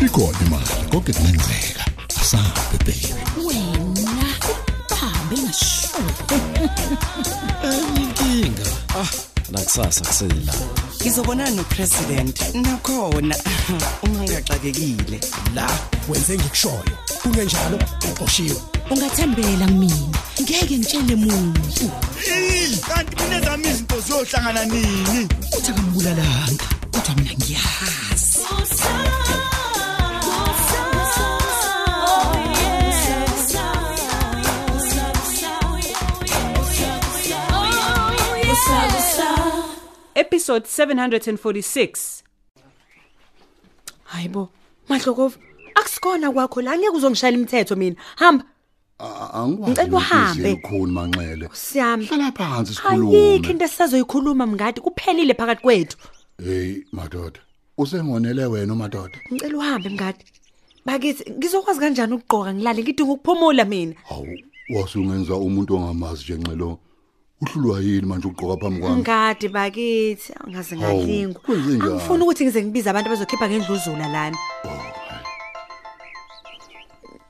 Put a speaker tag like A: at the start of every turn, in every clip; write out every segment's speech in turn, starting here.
A: uyibone imali konke kungenzeka asabe baby
B: wena bahambe ngasho
C: inkinga ah nakusasa kusela
D: Ngizobonana nopresident nakhona uma ngiyaxakekile.
E: la wenze ngikushoyo kungenjalo uqoshiwe
B: ungathembela mina ngeke ngitshele muntu
F: kanti mina zami izinto ziyohlangana nini
B: uthi akambulalanga kodwa mina ngiyazi
G: episode 746
H: hayibo madlokova akusikona kwakho la ngeke uzongishaya imithetho mina hamba Ngicela uhambe.
A: ukukhona manxele
H: siyami
A: hlala phansi
H: ayikho
A: sikhulume
H: into esisazoyikhuluma mngadi kuphelile phakathi kwethu
A: hey madoda usengonele wena madoda
H: ngicela uhambe mngadi bakithi ngizokwazi kanjani ukugqoka ngilale ngidinga ukuphumula mina
A: hawu wasungenza umuntu ongamazi nje nxelo uhlulwa yini manje ugqoka phambi kwami
H: mngadi bakithi angaze
A: Hawu,
H: ngalingwa
A: kwenzenjani?
H: angifuni ukuthi ngize ngibize abantu abazokhipha ngendluzula lana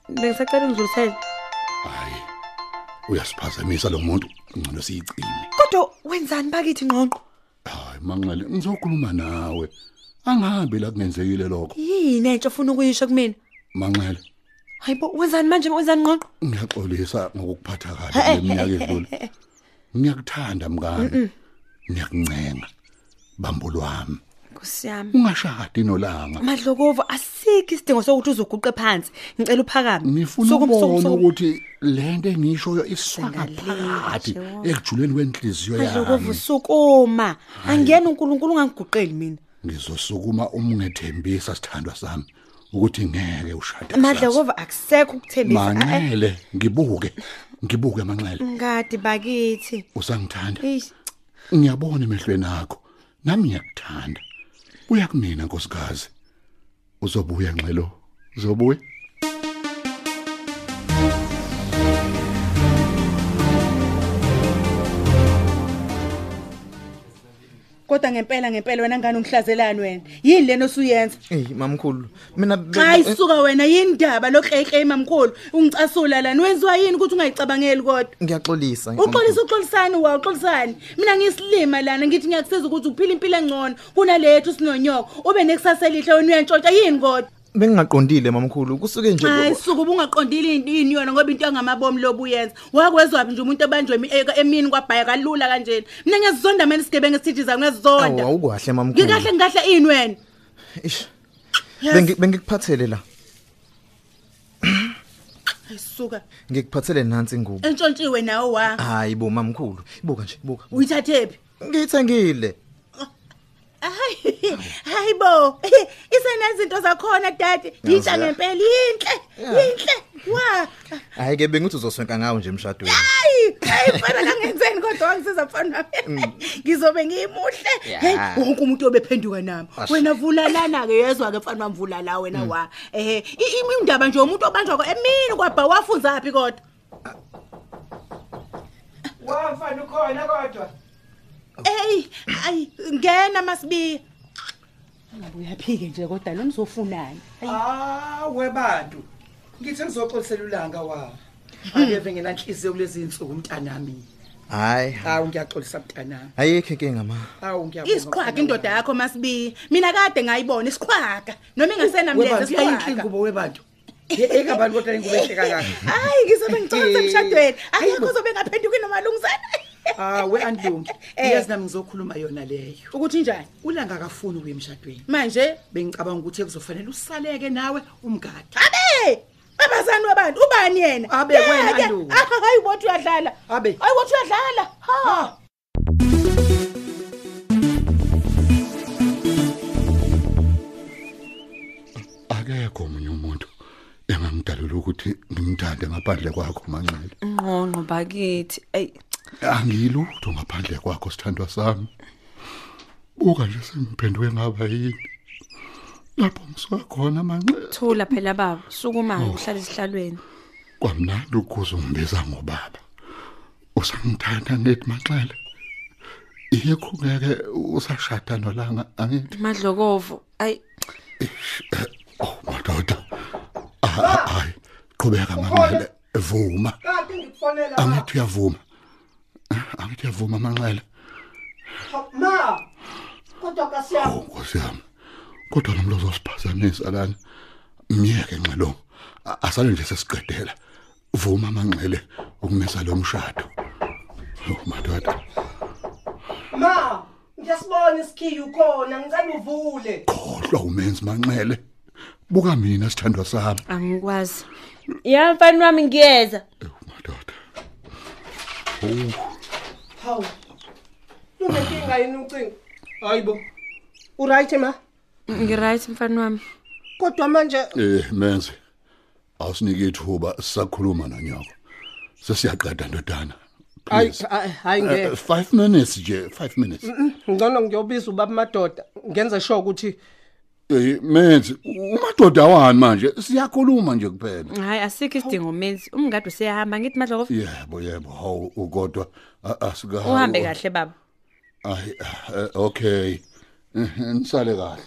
H: bengisacela ngidlulisele
A: hayi uyasiphazamisa lo muntu ngcono siyicime
H: kodwa wenzani bakithi ngqonqo
A: hayi manxele ngizokhuluma nawe angihambi la kungenzekile lokho
H: yini entsha ofuna ukuyisho kumina
A: manxele
H: hayibo wenzani manje wenzani ngqonqo
A: ngiyaxolisa ngokuphatha kabi
H: eh,
A: leminyaka edlule ngiyakuthanda
H: Mm,
A: mngane ngiyakuncenga bambulo wami
H: kusiyami
A: ungashadi nolanga
H: Mm. madlokovo asikho isidingo sokuthi uzoguqe phansi ngicela uphakame
A: ngifuna
H: Suku- suku-
A: ukubona
H: suku-
A: ukuthi le nto engishoyo iswaka phakathi
H: Sengalila, Joe.
A: ekujuleni kwenhliziyo
H: madlokovo
A: yami
H: sukuma angiyena unkulunkulu ungangiguqeli mina
A: ngizosukuma uma ungethembisa sithandwa sami ukuthi ngeke ushade kusasa.
H: madlokovo akusekho ukuthembisa Ah, eh,
A: manxele ngibuke ngibuke manxele
H: ngadi bakithi
A: usangithanda
H: Eish,
A: ngiyabona emehlweni akho nami ngiyakuthanda buya kumina nkosikazi uzobuya ngxelo uzobuya
I: kodwa ngempela ngempela wena ngani ungihlazelani wena yini lena osuyenza
J: eyi mamkhulu mina be-
I: hayi suka wena yini ndaba lokukleyikleyi mamkhulu ungicasula lani wenziwa yini ukuthi ungayicabangeli kodwa
J: ngiyaxolisa
I: uxolisa uxolisani wa uxolisani mina ngiyisilima lana ngithi ngiyakusiza ukuthi uphile impilo engcono kunalethu sinonyoko ube nekusasa elihle wena uyantshontsha yini kodwa
J: bengingaqondile mamkhulu kusuke nje
I: hayi suka ubungaqondile into ini yona ngoba into yangamabomi lobu uyenza wakwezwaphi nje umuntu ebanjwe emi- eka- emini kwabhaya kalula kanjena mina ngiyazizonda mina isigebenga esithijiza
J: Awu,
I: ngiyazizonda
J: awukahle mamkhulu
I: ngikahle ngikahle ini wena
J: Eish,
I: Yes.
J: bengi- bengikuphathele la
I: Hayi, suka
J: ngikuphathele nansi ingubo
I: entshontshiwe nawo wa
J: hayi bo mamkhulu ibuka nje buka
I: uyithathephi
J: ngiyithengile
I: hayi bo isenezinto zakhona dade yitsha ngempela yinhle yinhle wa
J: hayi ke bengithi uzoswenka ngawo nje emshadweni
I: hayi hayi mfana kangenzeni kodwa wangisiza mfana wami ngizobe ngimuhle hey wonke umuntu obephenduka nami wena vulalana ke yezwa ke mfana wami vulala wena wa ehe i- imi- indaba nje umuntu obanjwa ko emini kwabha wafunza phi kodwa
D: Wamfana ukhona kodwa.
I: hey ayi ngena masibiya ngabe uyaphike nje kodwa lo nizofunani
D: Ah webantu. Ngithe ngizoxolisela ulanga wa. Angeve ngenanhliziyo kulezi insuku mntanami.
J: hayi
D: Hawu ngiyaxolisa mntanami.
J: ayikho inkinga ma
D: Hawu ngiyabonga.
I: isiqhwaga indoda yakho masibiya mina kade ngayibona isiqhwaga noma ingasenamlenze
D: webantu
I: isiqhwaga
D: yayinhle ngubo webantu. Yeke abantu kodwa ingubo ehle kangaka.
I: hayi ngizobe ngithokoza emshadweni akekho
D: Hayibo.
I: uzobe ngaphenduki nomalungisana
D: Ah we andlungi.
I: Eh.
D: Yes nami ngizokhuluma yona leyo.
I: ukuthi njani
D: Ulanga akafuni ukuya emshadweni.
I: manje
D: Bengicabanga ukuthi ekuzofanele usaleke nawe umgadi.
I: abe abazani wabantu ubani yena
D: Abe, wena,
I: Yeke.
D: Andulu.
I: Ah, hayi bothi uyadlala
D: Abe.
I: hayi bothi uyadlala ha
A: akekho omunye umuntu engangidalela ukuthi ngimthande ngaphandle kwakho manxele
H: ngqonqo bakithi eyi
A: angiyilutho ngaphandle kwakho sithandwa sami buka nje sengiphenduke ngaba yini lapho ngisuka khona manxele
H: thula phela baba sukumayo uhlale esihlalweni
A: kwamnandi ukuze ungibiza ngobaba usangithanda nethi manxele yikho ngeke usashada nolanga angithi
H: madlokovo ayi
A: oh man madoda Ah, hayi qhubeka mama vuma
D: kanti ngikufonela ma
A: angithi uyavuma Ah, angithi uyavuma manxele
D: ma kodwa kasiyami
A: nkosi yami kodwa nomlo uzosiphazanisa lana miyeke nxelo A- er asale nje sesiqedela vuma manxele ukumisa lo mshado Yo, madoda
D: ma ngiyasibona isikhiyi ukhona ngicela uvule
A: khohlwa umenzi manxele buka mina sithandwa sami
H: Angikwazi. Ya mfana wami ngiyeza.
A: madoda Oh,
D: hawu lunenkinga yini ucingo hayibo
I: uright ma
H: Ngiright mfana wami.
I: kodwa manje
A: eh menzi awusinike ithuba sisakhuluma nonyoko sesiyaqeda ndodana
I: hayi
A: Please.
I: hayi, hayi
A: Eh,
I: ngeke
A: 5 minutes nje 5 minutes
I: ngcono ngiyobiza ubaba madoda ngenze sure ukuthi
A: Eh manje umadoda awani manje siyakhuluma nje kuphela.
H: Hayi asikho isidingo menzi. Umngadi useyahamba ngithi madla kofu.
A: Yebo yebo hawu ukodwa a- asika.
H: Uhambe kahle baba.
A: Ay eh, okay. Eh, Nisale kahle.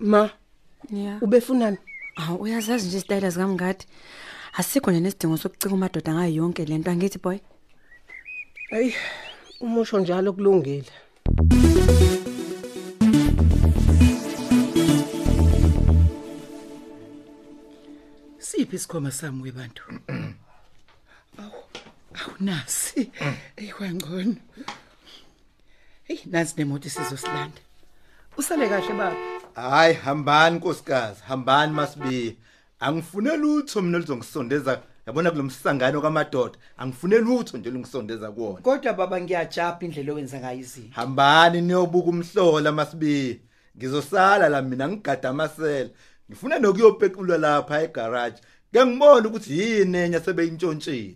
I: ma
H: Yeah.
I: ubefunani
H: Hawu uyazazi nje isitayile zikamngadi. Asikho nje nesidingo sokucika umadoda ngayo yonke lento angithi boy.
I: hayi umusho njalo kulungile siphi isikhoma sami webantu awu awunasi eyikwangcono hey nansi nemoto isizosilanda usale kahle baba
J: Hayi hambani nkosikazi, hambani masibi. Angifune lutho mina luzongisondeza yabona kulomsangano kamadoda. Angifune lutho nje lungisondeza kuona.
D: kodwa baba ngiyajabha indlela owenza ngayo izinto
J: Hambani niyobuka umhlola masibi. Ngizosala la mina ngigada amasela. Ngifuna nokuyopekulwa lapha egarage. Ke ngibona ukuthi yini enye sebeyintshontshile.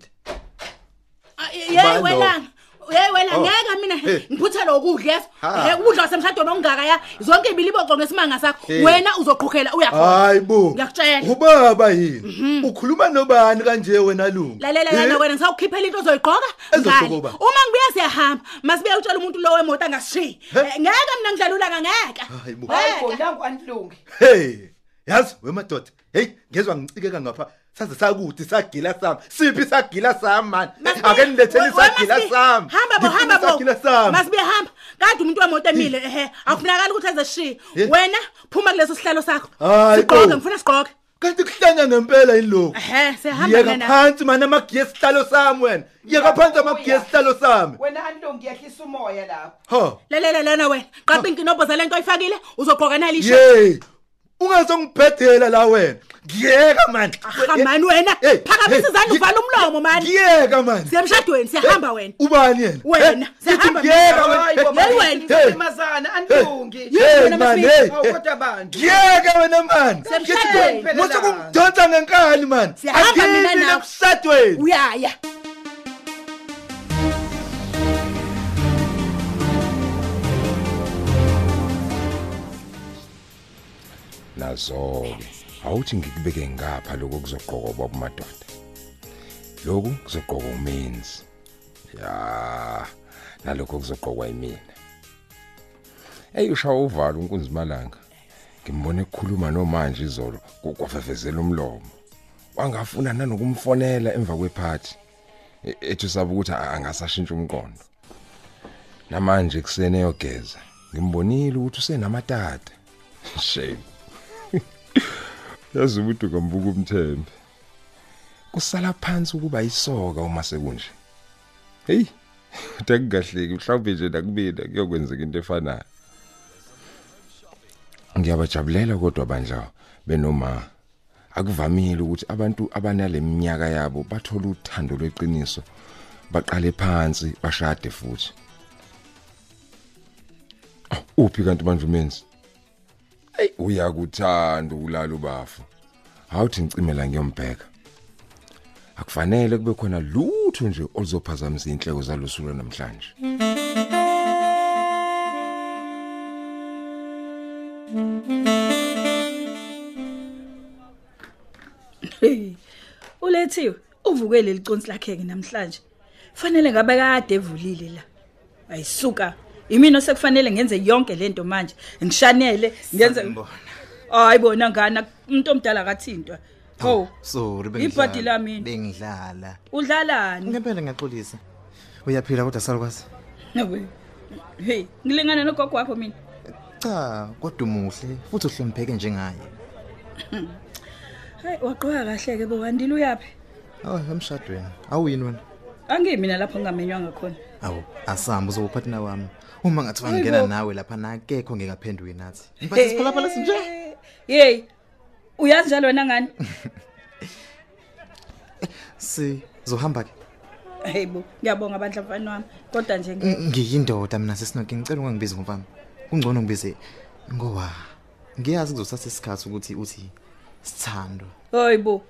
I: Hey
J: Ubani
I: Ah,
J: lo?
I: welanga. Hey welanga
J: Oh.
I: ngeke mina
J: Hey.
I: ngiphuthe lokudla
J: Ha.
I: eso. Ukudla kwasemshadweni okungaka ya. Zonke ibiliboqo ngesimanga sakho.
J: Hey.
I: Wena uzoqhukhela uyakhona.
J: Hayi bo.
I: Ngiyakutshela. Mhm.
J: Ubaba yini? Ukhuluma nobani kanje wena lungu?
I: Lalela
J: Eh?
I: yena wena ngisawukhiphela into ozoyiqoka.
J: Ezogqoka ubani?
I: Uma ngibuya siyahamba, masibe utshela umuntu lo wemoto angashiyi.
J: He.
I: Eh, Ngeke mina ngidlalula ngeke.
J: Hayi bo.
D: hayibo nangu anilungi
J: Hey, yazi wemadoda. Hey, ngezwe ngicikeka ngapha. Saze sakuthi sagila sami. Siphi sagila sami man?
I: Masibe-
J: Ake nilethele
I: we- we
J: sagila
I: masibe-
J: sami.
I: Hamba bo
J: Ngifuna
I: hamba bo.
J: Sagila sami. Eh.
I: Masibe hamba. Kade umuntu wemoto emile ehe. Akufunakala ukuthi
J: Hey.
I: azeshiye. Wena phuma kuleso sihlalo sakho.
J: Eh. Hayi bo.
I: Siqoke ngifuna siqoke.
J: Kanti kuhlanya ngempela yini lokho?
I: Ehhe siyahamba
J: Yeka
I: mina.
J: phansi man amagiye sihlalo sami wena. Yeka phansi amagiye sihlalo sami.
D: wena anilungi yehlisa umoya lapho
J: Ho.
I: lalela lana wena qapha inkinobho zalento oyifakile uzogqoka nalisha
J: Yey. Ungazongibhedela la wena. Ngiyeka man.
I: hamani wena
J: Hey, hey,
I: phakamisa izandla
J: ngi-
I: uvala umlomo mani
J: Ngiyeka man.
I: siyemshadweni
J: Eh.
I: siyahamba wena
J: Ubani yena?
I: Wena,
J: Eh,
I: siyahamba
J: ngithi ngiyeka
I: mina.
J: wena.
D: hayibo
J: Eh, eh,
I: Hey, wena.
J: hey.
D: mazana anilungi
J: Hey
I: Wena
J: man,
I: Masiphi.
J: hey.
D: Hawu, kodwa bantu.
J: Ngiyeke wena man.
I: Siyamshayela
D: phela la.
J: Musukungidonsa ngenkani man.
I: Siyahamba mina
J: Angimi
I: nawe.
J: nekusatweni.
I: uyaya
K: nazo-ke awuthi ngikubeke ngapha lokhu kuzogqokwa babumadoda lokhu kuzogqokwa umenzi ya nalokho kuzogqokwa yimina eyi ushawa uvalo unkunzi malanga ngimbone kukhuluma nomanje izolo ku- kwafefezela umlomo wangafuna nanokumfonela emva kwephathi E- ethi usaba ukuthi a- angasashintsha umqondo namanje ekuseni eyogeza ngimbonile ukuthi usenamatata shame yazi umuntu ngambuka umthembe kusala phansi ukuba isoka uma sekunje hey dakungahleki mhlawumbe nje nakubina kuyokwenzeka into efanayo ngiyabajabulela kodwa bandla benoma akuvamile ukuthi abantu abanale minyaka yabo bathola uthando lweqiniso baqale phansi bashade futhi Ah, uphi kanti manje umenzi Ey uyakuthanda ukulala ubafu. Awuthi ngicimela ngiyombheka. Akufanele kube khona lutho nje oluzophazamisa inhleko zalusulo namhlanje.
L: Ulethiwe uvuke leli qonsi lakhe ke namhlanje. Fanele ngabe kade evulile la. Ayisuka. Imina sekufanele ngenze yonke lento manje. Ngishanele, ngenze
J: Ngiyabona.
L: hayi bona ngana umuntu omdala akathintwa ho
M: sorry
L: ibhadi lami yini?
M: bengidlala
L: udlalani
M: ngempela ngiyaxolisa uyaphila kodwa salukwazi
L: Yabo. hey ngilingana nogogo wakho mina
M: cha kodwa umuhle futhi uhlonipheke njengaye
L: hayi waqoka kahle ke bo wandile uyaphi
M: oh emshadweni awuyini wena
L: angimi mina lapho ngingamenywanga khona
M: awu asamba uzowuphathina wami uma ngathiwa
L: Hayibo.
M: ngingena nawe lapha nakekho ngekaphenduki nathi Mfana siphalaphala sinje.
L: Hey. Uyazi njalo wena ngani?
M: sizohamba ke
L: Hey bo, ngiyabonga abandla mfana wami. Kodwa nje ngi-
M: ngiyindoda mina sisinoke ngicela ungangibizi ngomfana kungcono ngibize ngowa ngiyazi kuzothatha isikhathi ukuthi uthi sithandwa
L: Hoy bo.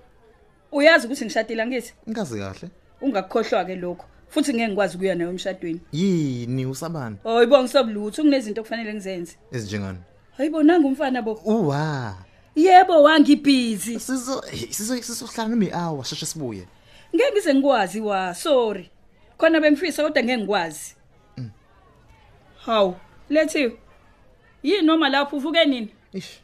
L: Uyazi ukuthi ngishadile angithi?
M: Ngazi kahle.
L: Ungakukhohlwa ke lokho. Futhi ngeke ngikwazi ukuya nayo emshadweni.
M: yini usabani
L: Hoy bo ngisobulutho kunezinto okufanele ngizenze.
M: ezinjengani
L: Hayi bo nanga umfana bo.
M: uwa
L: Yebo wangibhizi.
M: Sizo sizo sizohlala nami hour sheshe sibuye.
L: Ngeke ngize ngikwazi wa, sorry. Khona bengifisa kodwa ngeke ngikwazi. Haw, lethi. Yini noma lapho uvuke nini?
M: Ish.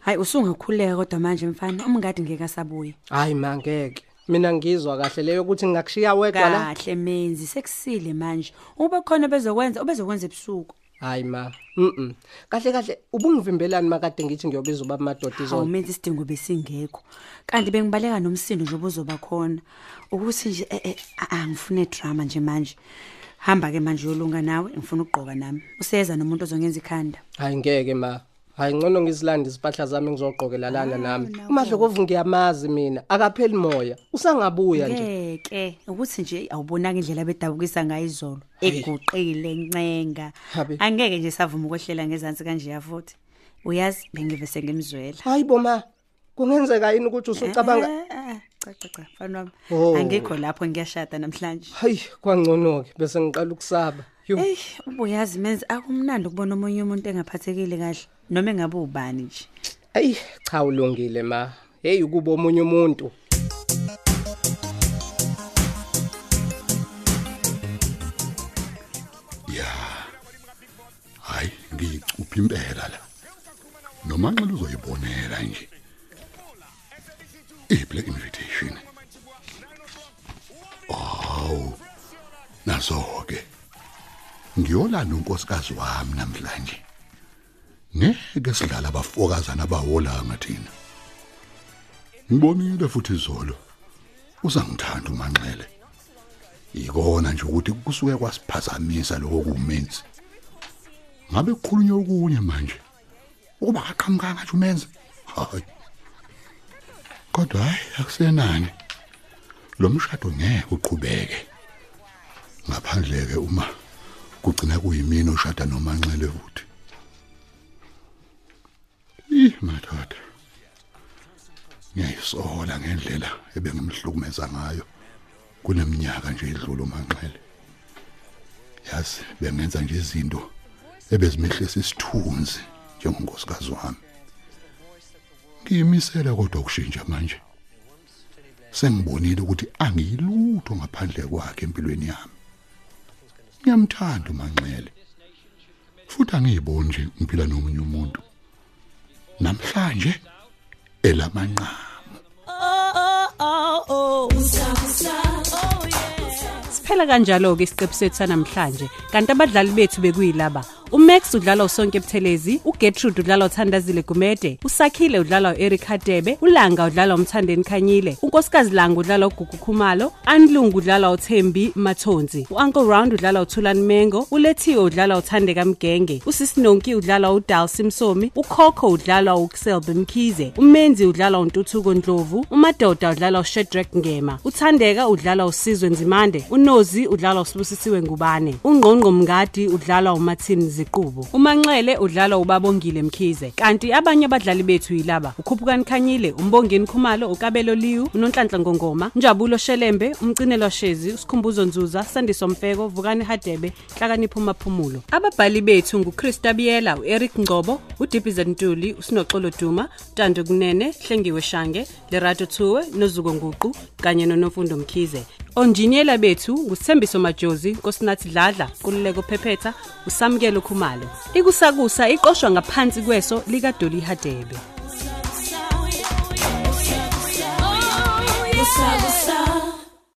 N: Hayi usungikhuleka kodwa manje mfana umngadi ngeke asabuye.
O: hayi ma ngeke mina ngizwa kahle leyo ukuthi ngakushiya wedwa la
N: Kahle menzi sekusile manje. Ube khona bezokwenza obezokwenza ebusuku.
O: hayi ma mm kahle kahle ubungivimbelani makade ngithi ngiyobiza ubaba madoda
N: Hawu
O: izona
N: menzi isidingo besingekho. Kanti bengibaleka nomsindo nje obuzoba khona. Ukuthi nje eh, eh, a- a- angifune drama nje manje. Hamba ke manje uyolunga nawe ngifuna ukugqoka nami. Useza nomuntu ozongenza ikhanda.
O: hayi ngeke ma hayi ngcono ngizilande izipahla zami ngizogqokelalana nami umadlokovu ngiyamazi mina akapheli moya usangabuya nje
N: Ngeke ukuthi nje awubonanga indlela bedabukisa ngayo izolo eguqile ncenga.
O: Habe.
N: Angeke nje savuma ukwehlela ngezansi kanje yafuthi. Uyazi bengivese ngimzwela.
O: hayi bo ma kungenzeka yini ukuthi usucabanga
N: Eh, cha cha cha mfana wami.
O: Oh.
N: Angikho lapho ngiyashada namhlanje.
O: hayi kwangcono-ke bese ngiqala ukusaba Yo.
N: Ey, ubuyazi menzi akumnandi ukubona omunye umuntu engaphathekile kahle noma engabe ubani nje.
O: eyi cha ulungile ma heyi ukuba omunye umuntu
A: hayi ngicupha impela la noma nxa uzoyibonela nje iple invitation aw naso ke ngiyolana unkosikazi wami namhlanje ngeke sidlala abafokazana bawolanga thina ngibonile futhi izolo uzangithanda umanxele ikona nje ukuthi kusuke kwasiphazamisa lokho kumenzi ngabe kukhulunywe okunye manje ukuba aqhamukanga nje umenze hayi kodwa hayi akusenani lo mshado ngeke uqhubeke ngaphandle ke uma kugcina kuyimina oshada nomanxele futhi ih madoda ngiyayisola ngendlela ebengimhlukumeza ngayo kuneminyaka nje edlule umanxele yazi bengenza nje izinto ebezimehlisa isithunzi njengonkosikazi wami ngiyimisela kodwa ukushintsha manje sengibonile ukuthi angiyilutho ngaphandle kwakhe empilweni yami ngiyamthanda umanxele futhi angiyiboni nje ngiphila nomunye umuntu namhlanje elamanqama
P: Siphela kanjalo ke isiqephu sethu sanamhlanje. Kanti abadlali bethu bekuyilaba. uMax udlalwa uSonke Buthelezi, uGertrude udlalwa uThandazile Gumede, uSakhile udlalwa uEric Hadebe, uLanga udlalwa uMthandeni Khanyile, uNkosikazi Langa udlalwa uGugu Khumalo, Anlungu udlalwa uThembi Mathonzi, uUncle Round udlalwa uThulani Mengo, uLethiwe udlalwa uThandeka Mgenge, uSisinonki udlalwa uDalsi Msomi, uKhokho udlalwa uKselbe Mkhize, uMenzi udlalwa uNtuthuko Ndlovu, uMadoda udlalwa uShedrack Ngema, uThandeka udlalwa uSizwe Nzimande, uNozi udlalwa uSibusisiwe Ngubane, uNgqongqo Mngadi udlalwa uMathini Ziqubo, uManxele udlalwa uBabongile Mkhize, kanti abanye abadlali bethu yilaba uKhuphukani Khanyile, uMbongeni Khumalo, uKabelo Liwu, uNonhlanhla Ngongoma, Njabulo Shelembe, uMcinelwa Shezi, uSkhumbuzo Nzuza, Sandiso Mfeko, Vukani Hadebe, Hlakanipho Maphumulo. Ababhali bethu nguChrista Biyela, uEric Ngcobo, uDiphizan Ntuli, uSinoxolo Duma, Tando Kunene, Hlengiwe Shange, Lerato Thuwe, noZuko Nguqu kanye noNofundo Mkhize. onjiniyela bethu ngusithembiso majozi nkosinathi dladla kululeko phephetha usamukelo khumalo ikusakusa iqoshwa ngaphansi kweso likadoli hadebe
B: Usakusa.